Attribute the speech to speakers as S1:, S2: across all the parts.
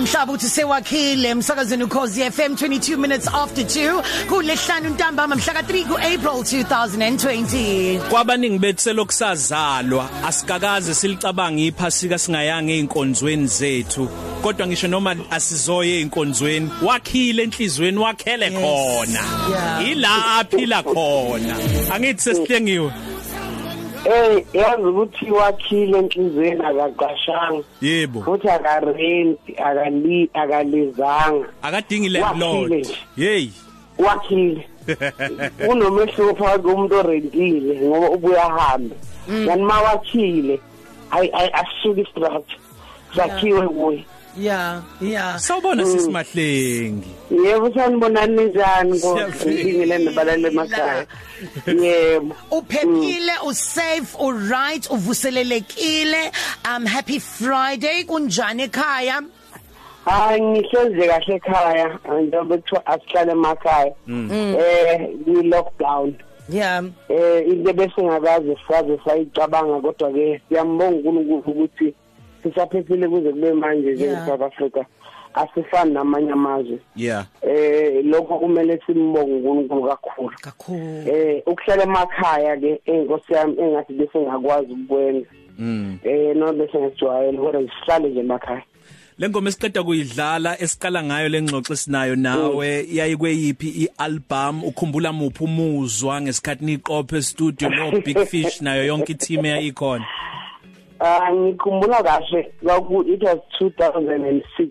S1: mhlaba uthi sewakhile emsakazweni ukhozi FM 22 minutes after 2 kulesihlanu ntambama mhla ka3 kuApril 2020
S2: kwabaningi bethu selokusazalwa asikakaze silicabanga iphasika singayanga einkonzweni zethu kodwa ngisho noma asizoye einkonzweni wakhile enhlizweni wakhele khona
S1: yeah.
S2: ila aphila khona angithi sesihlengiwe
S3: Eh yazi ukuthi wakhile enhlizweni akaqashanga
S2: yebo
S3: futhi akarenti akali akalizanga
S2: akadingi
S3: Wakhile
S2: landlord
S3: nje.
S2: hey
S3: wakhile unomehluko phakathi komuntu orentile ngoba ubuya hamba kanti ma wakhile ayi ayi- asisuki istructure zakhiwe kuye
S1: yeah yeah
S2: sawubona sisimahlengi
S3: yebo sanibonani ninjani
S2: Siyaphila.
S3: ngibingile nabalala emakhaya yebo
S1: uphephile usafe uright uvuselelekile um happy friday kunjani ekhaya
S3: hayi ngihlezi kahle ekhaya njengoba kuthiwa asihlale emakhaya eh i-lockdown
S1: yeah
S3: eh into besingakaze saze sayicabanga kodwa ke siyambonga uNkulunkulu ukuthi sisaphephile kuze kube manje
S1: Yeah.
S3: njengeSouth Africa asifani namanye amazwe
S2: yeah
S3: eh lokho kumele simbonge uNkulunkulu kakhulu
S1: kakhulu
S3: eh ukuhlala emakhaya ke inkosi yami engathi bese ngakwazi ukwenza
S2: mm
S3: eh no bese ngijwayele kodwa ngihlale nje emakhaya
S2: Lengoma esiqeda kuyidlala esiqala ngayo lengxoxo sinayo nawe yayi kweyiphi ialbum ukhumbula muphi umuzwa ngesikhathi niqophe studio no Big Fish nayo yonke team eyayikhona
S3: Ah ngikhumbula kahle lokhu it was 2006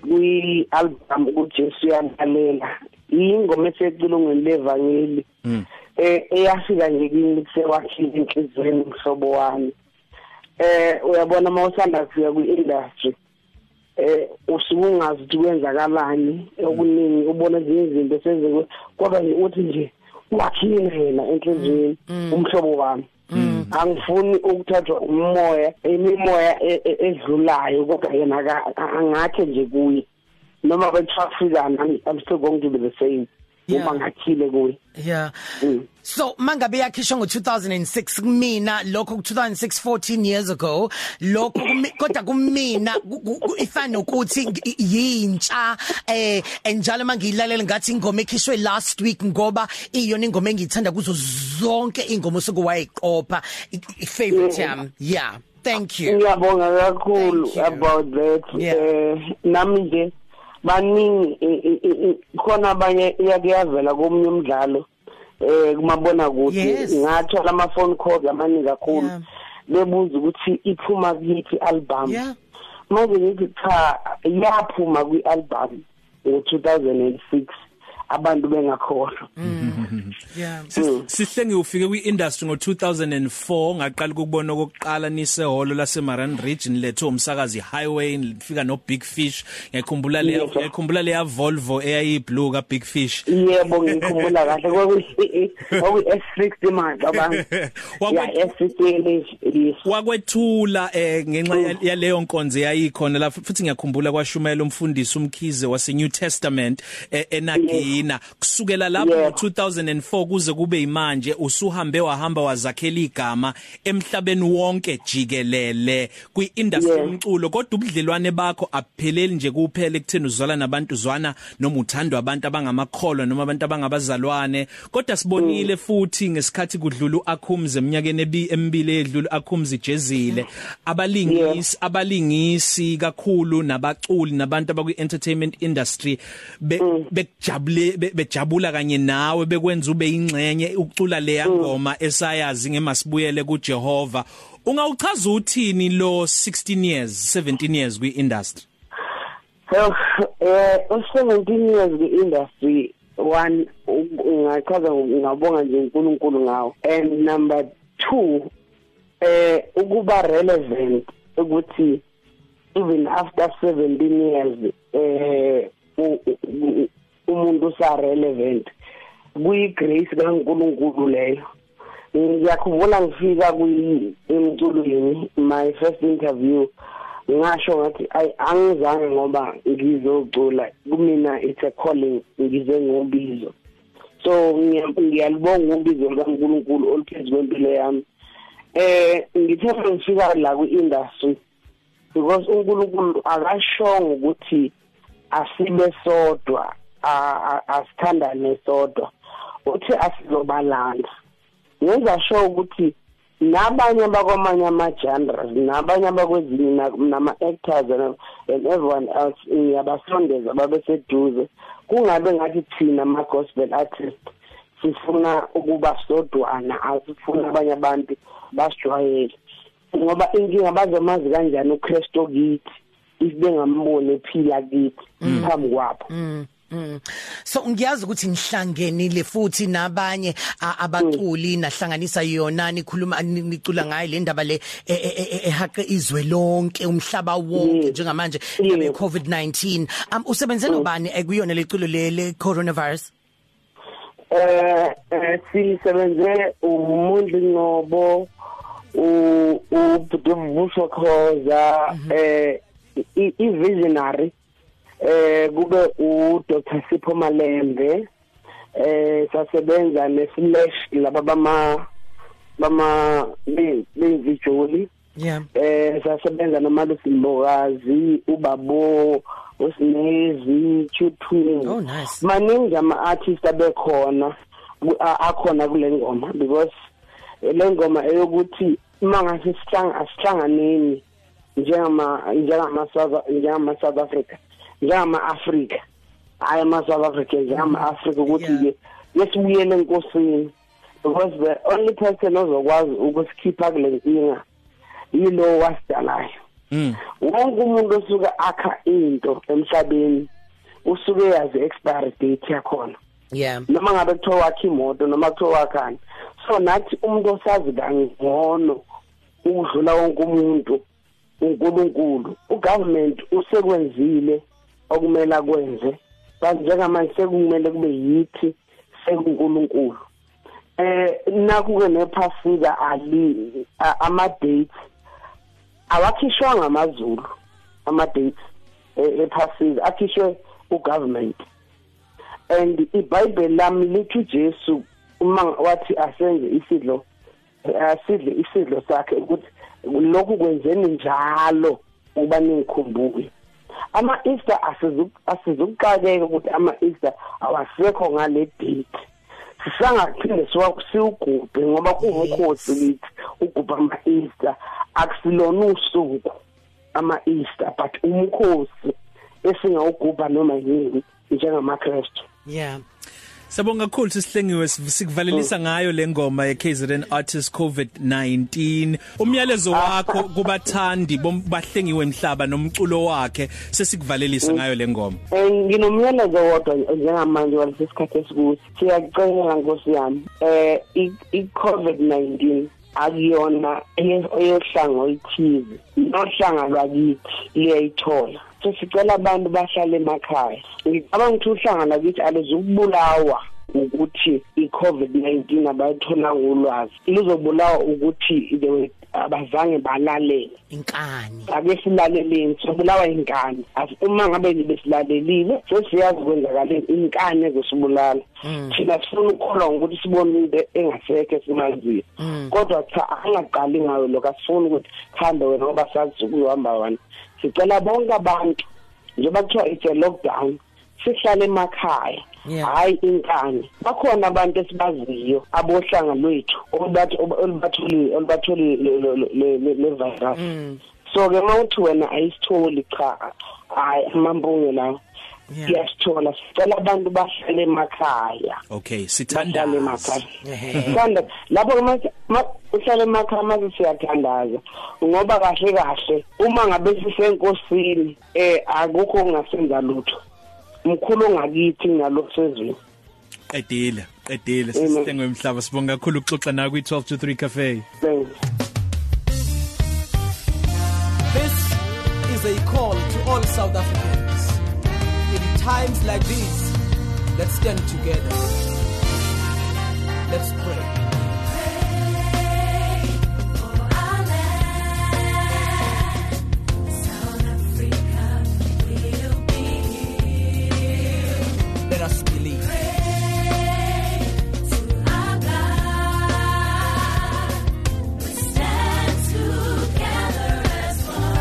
S3: kwi album uJesu yamhalela ingoma esecilongweni levangeli eh eyafika nje kimi kusewakhile inhlizweni mhlobo wami eh uyabona mawusanda kufika kwi industry eh usuke ungazi ukuthi kwenzakalani okuningi ubona nje izinto senzeke kwaba nje uthi nje wakhile yena enhlizweni umhlobo wami angifuni ukuthathwa umoya imimoya e- e- edlulayo kodwa yena aka- angakhe nje kuye noma bethafikana I'm still going to be the same
S1: Yeah.
S3: uma ngakhile kuye
S1: yeah
S3: Mm.
S1: So mangabe yakhishwa ngo2006 kumina lokho ku2006 14 years ago lokho kumi- kodwa kumina ku- ku- ku- ifana ukuthi yintsha eh enjalo mangiyilalela ngathi ingoma ekhishwe last week ngoba iyona ingoma engiyithanda kuzo zonke ingoma sokuwayiqopha i- i- favorite yam yeah thank you
S3: ngiyabonga kakhulu
S1: Thank you.
S3: about that
S1: Yeah.
S3: eh nami nje baningi i- i- i- i- khona abanye iyakuyavela komunye umdlalo eh kumabona
S1: Yes.
S3: kude ngathola ama phone calls amaningi
S1: Yeah.
S3: kakhulu bebuza ukuthi iphuma kuyiphi album
S1: yeah
S3: manje ngithi cha yaphuma kwi-album ngo-2006 abantu bengakholwa
S1: Mm. yeah
S3: Mm.
S2: sihlengi ufike kwi-industry ngo-2004 ngaqala ukubona okokuqala nisehholo laseMaran Region letho umsakazi highway nifika no-Big Fish ngiyakhumbula leya
S3: Yes, sir.
S2: ngiyakhumbula leya Volvo eyayiyiblue ka-Big Fish
S3: yebo ngikhumbula kahle kwakuyi-s60 manje abantu
S2: Wakwe-
S3: ya s60
S2: wakwethula eh ngenxa ya- yaleyo nkonzo yayikhona la futhi ngiyakhumbula kwashumayela umfundisi umkhize wase New Testament eh, enagina kusukela lapho
S3: Yeah.
S2: ngo2004 kuze kube imanje usuhambe wahamba wazakhela igama emhlabeni wonke jikelele kwiindustry
S3: Yeah.
S2: yomculo kodwa ubudlelwane bakho abupheleli nje kuphela ekutheni uzwala nabantu zwana noma uthandwa abantu abangamakholwa noma abantu abangabazalwane kodwa sibonile futhi ngesikhathi kudlula uAkhumze eminyakeni ebi- emibili edlula uAkhumze jezile abalingisi abalingisi kakhulu nabaculi nabantu abakwi entertainment industry be- bekujabule be- bejabula kanye nawe bekwenza ube ingcenye ukucula leya ngoma esayazi ngemasibuyele kuJehova Ungawuchaza uthini lo 16 years 17 years kwi-industry?
S3: So eh u17 years ke industry one u- ungachaza ngabonga nje uNkulunkulu ngawo and number 2 eh ukuba relevant ukuthi even after 17 years eh u- u- u- umuntu usa relevant kuyi grace kaNkulunkulu leyo ngiyakhumbula ngifika kwi- emculweni my first interview ngasho ngathi ayi angizange ngoba ngizocula kumina it's a calling ngize ngobizo so ngiya- ngiyalibonga ubizo likaNkulunkulu oluphezu kwempilo yami eh ngithe ngifika la kwi-industry because uNkulunkulu akashongo ukuthi asibe sodwa a- a- asithandane sodwa uthi asizobalanda ngenza sure ukuthi nabanye abakwamanye ama-genres nabanye abakwezinye na- nama-actors and- and everyone else ngiyabasondeza babeseduze kungabe ngathi thina ama-gospel artist sifuna ukuba sodwana asifuna abanye abantu basijwayele ngoba inkinga bazomazi kanjani uKristo kithi if bengamboni ephila kithi phambi kwabo
S1: Mm, mm. so ngiyazi ukuthi nihlangenile futhi nabanye a-
S3: Mm.
S1: abaculi nahlanganisa yona nikhuluma ni- nicula ngayo le ndaba le e- e- e- e- ehaqe izwe lonke umhlaba wonke
S3: Mm.
S1: njengamanje
S3: Mm.
S1: ngabe covid-19 um usebenze nobani ekuyona leculo le le coronavirus
S3: eh eh, sisebenze umuntu ngobo u ubudumbuso khoza eh i i- visionary eh kube u Dr Sipho Malembe eh sasebenza ne Flash laba bama bama bezijoli
S1: yeah
S3: eh sasebenza nomalusi mbokazi ubabo usinezi chuthuni
S1: Oh, nice.
S3: maningi ama artist abekhona ku- a- akhona kule ngoma because eh, le ngoma eyokuthi mangase sihlanga asihlanganeni njengama njengama South njengama South Africa njengama Africa hayi ama South Africa njengama Africa ukuthi
S1: Yeah.
S3: ke yesibuyele enkosini because the only person ozokwazi ukusikhipha kule nkinga yilo wasidalayo
S2: Mm.
S3: wonke umuntu osuke akha into emhlabeni usuke yazi expiry date yakhona
S1: yeah
S3: noma ngabe kuthiwa wakha imoto noma kuthiwa wakhani so nathi umuntu osazi kangcono ukudlula wonke umuntu unkulunkulu ugovernment usekwenzile okumele akwenze kanti njengamanje sekumele kube yithi sekunkulunkulu eh naku-ke nephasika ali a- ama-dates awakhishwanga amazulu ama-dates e- ephasika akhishwe ugovernment and iBhayibheli lami lithi uJesu uma wathi asenze isidlo asidle isidlo sakhe ukuthi lokhu kwenzeni njalo uba ningikhumbuke ama Easter asizu- asizukuqakeka ukuthi ama Easter awasekho ngale date sisangaphinde siwa- siwugubhe ngoba kungukhosi kithi ugubhe ama Easter akusilona usuku ama Easter but umkhosi esingawugubha noma yini njengamaKristu
S1: yeah
S2: Sabonga kakhulu sisihlengiwe siv- sikuvalelisa ngayo le ngoma ye KZN Artist COVID-19. Umyalezo wakho kubathandi bom- bahlengiwe emhlaba nomculo wakhe sesikuvalelisa ngayo le ngoma.
S3: Eh, nginomyalezo wodwa njengamanje walesi sikhathi esikuthi siyacela nkosi yami eh i- i-covid-19 akuyona eye- eyohlanga oluthize nohlanga lwakithi liyayithola so sicela abantu bahlale emakhaya ngicabanga ukuthi uhlanga lwakithi aluzukubulawa ukuthi i-covid-19 abayithola ulwazi luzobulawa ukuthi they were- abazange balalele
S1: inkani
S3: ake silaleleni sobulawa inkani As- uma ngabe besilalelile sesiyazi kwenzakaleni inkani ezosibulala thina sifuna ukukholwa ngokuthi sibone into engasekho simanzile kodwa cha angaqali ngayo lokho asifuni ukuthi khambe wena ngoba sazi ukuhamba wena sicela bonke abantu njengoba kuthiwa it's a lockdown sihlale emakhaya
S1: Yeah.
S3: hayi inkani bakhona abantu esibaziyo abohlanga lwethu olubath- olubatholi olubatholi le- le- le- le- le virus
S1: Mm.
S3: so ke mawuthi wena ayisitholi cha hayi amambunge lawo
S1: Yeah.
S3: siyasithola sicela abantu bahlale emakhaya
S2: Okay, Ah,
S3: bahlale
S2: sithandaza.
S3: emakhaya
S1: Ehhe.
S3: sanda lapho ma- ma- uhlale emakhaya mase siyathandaza ngoba kahle kahle uma ngabe sisenkosini eh akukho ongasenza lutho mkhulu ongakithi nalo sezweni
S2: Qedile, qedile
S3: Amen.
S2: sisihlengiwe emhlaba. Sibonga kakhulu ukuxoxa nawe kwi 12 to 3 cafe.
S3: thanks
S4: This is a call to all South Africans. In times like these, let's stand together. Let's pray. Let us believe.
S5: Stand together as one.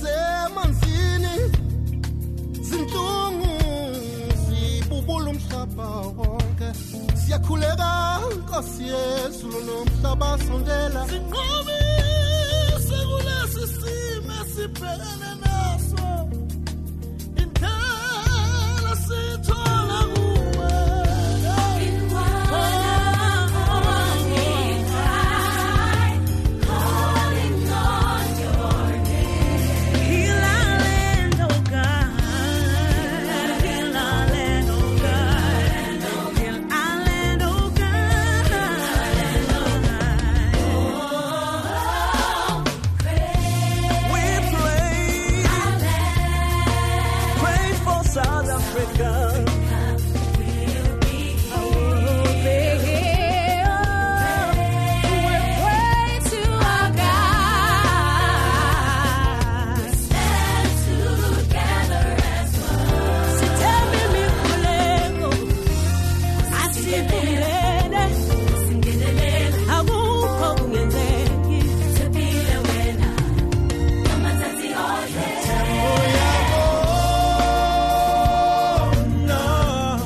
S5: selisemanzini zintungu zibubula umhlaba wonke siyakhuleka nkosi yezulu nomhlaba sondela sinqobise kulesi simo sibhekene naso indlela sithola kuwe
S6: Heal our land, oh God. Heal our land, oh God. Heal our land, oh God. We pray, pray for South Africa.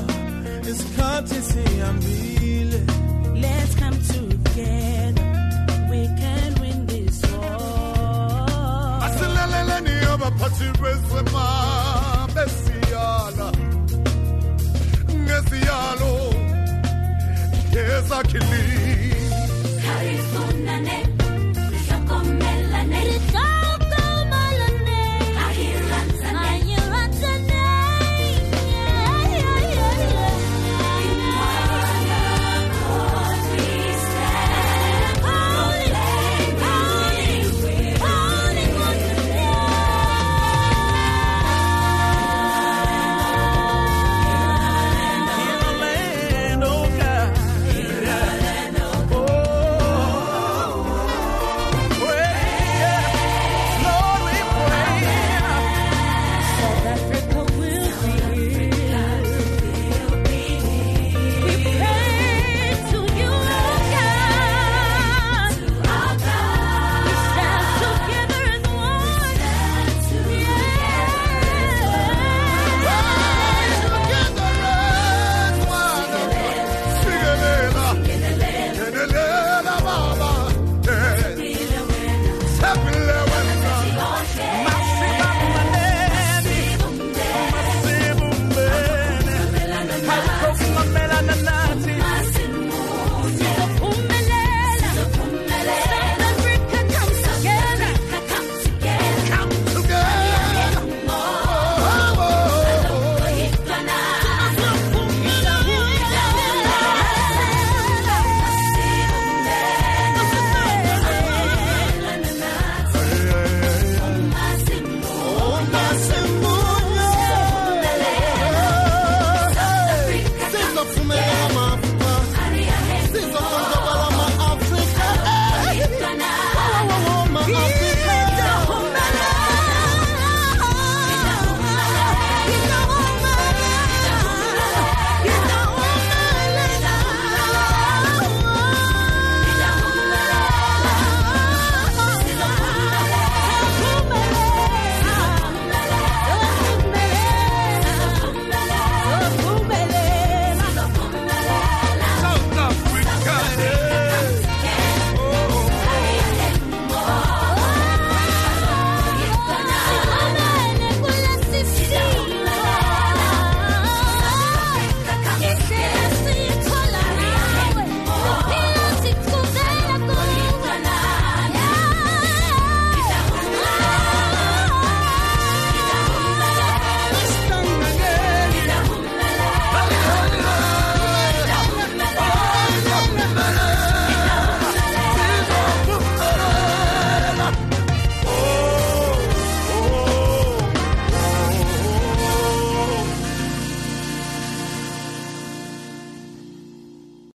S5: isikhathi sihambile
S6: Let's come together. We can win this war.
S5: asilaleleni abaphathi bezema besiyala ngeziyalo ngezakhilini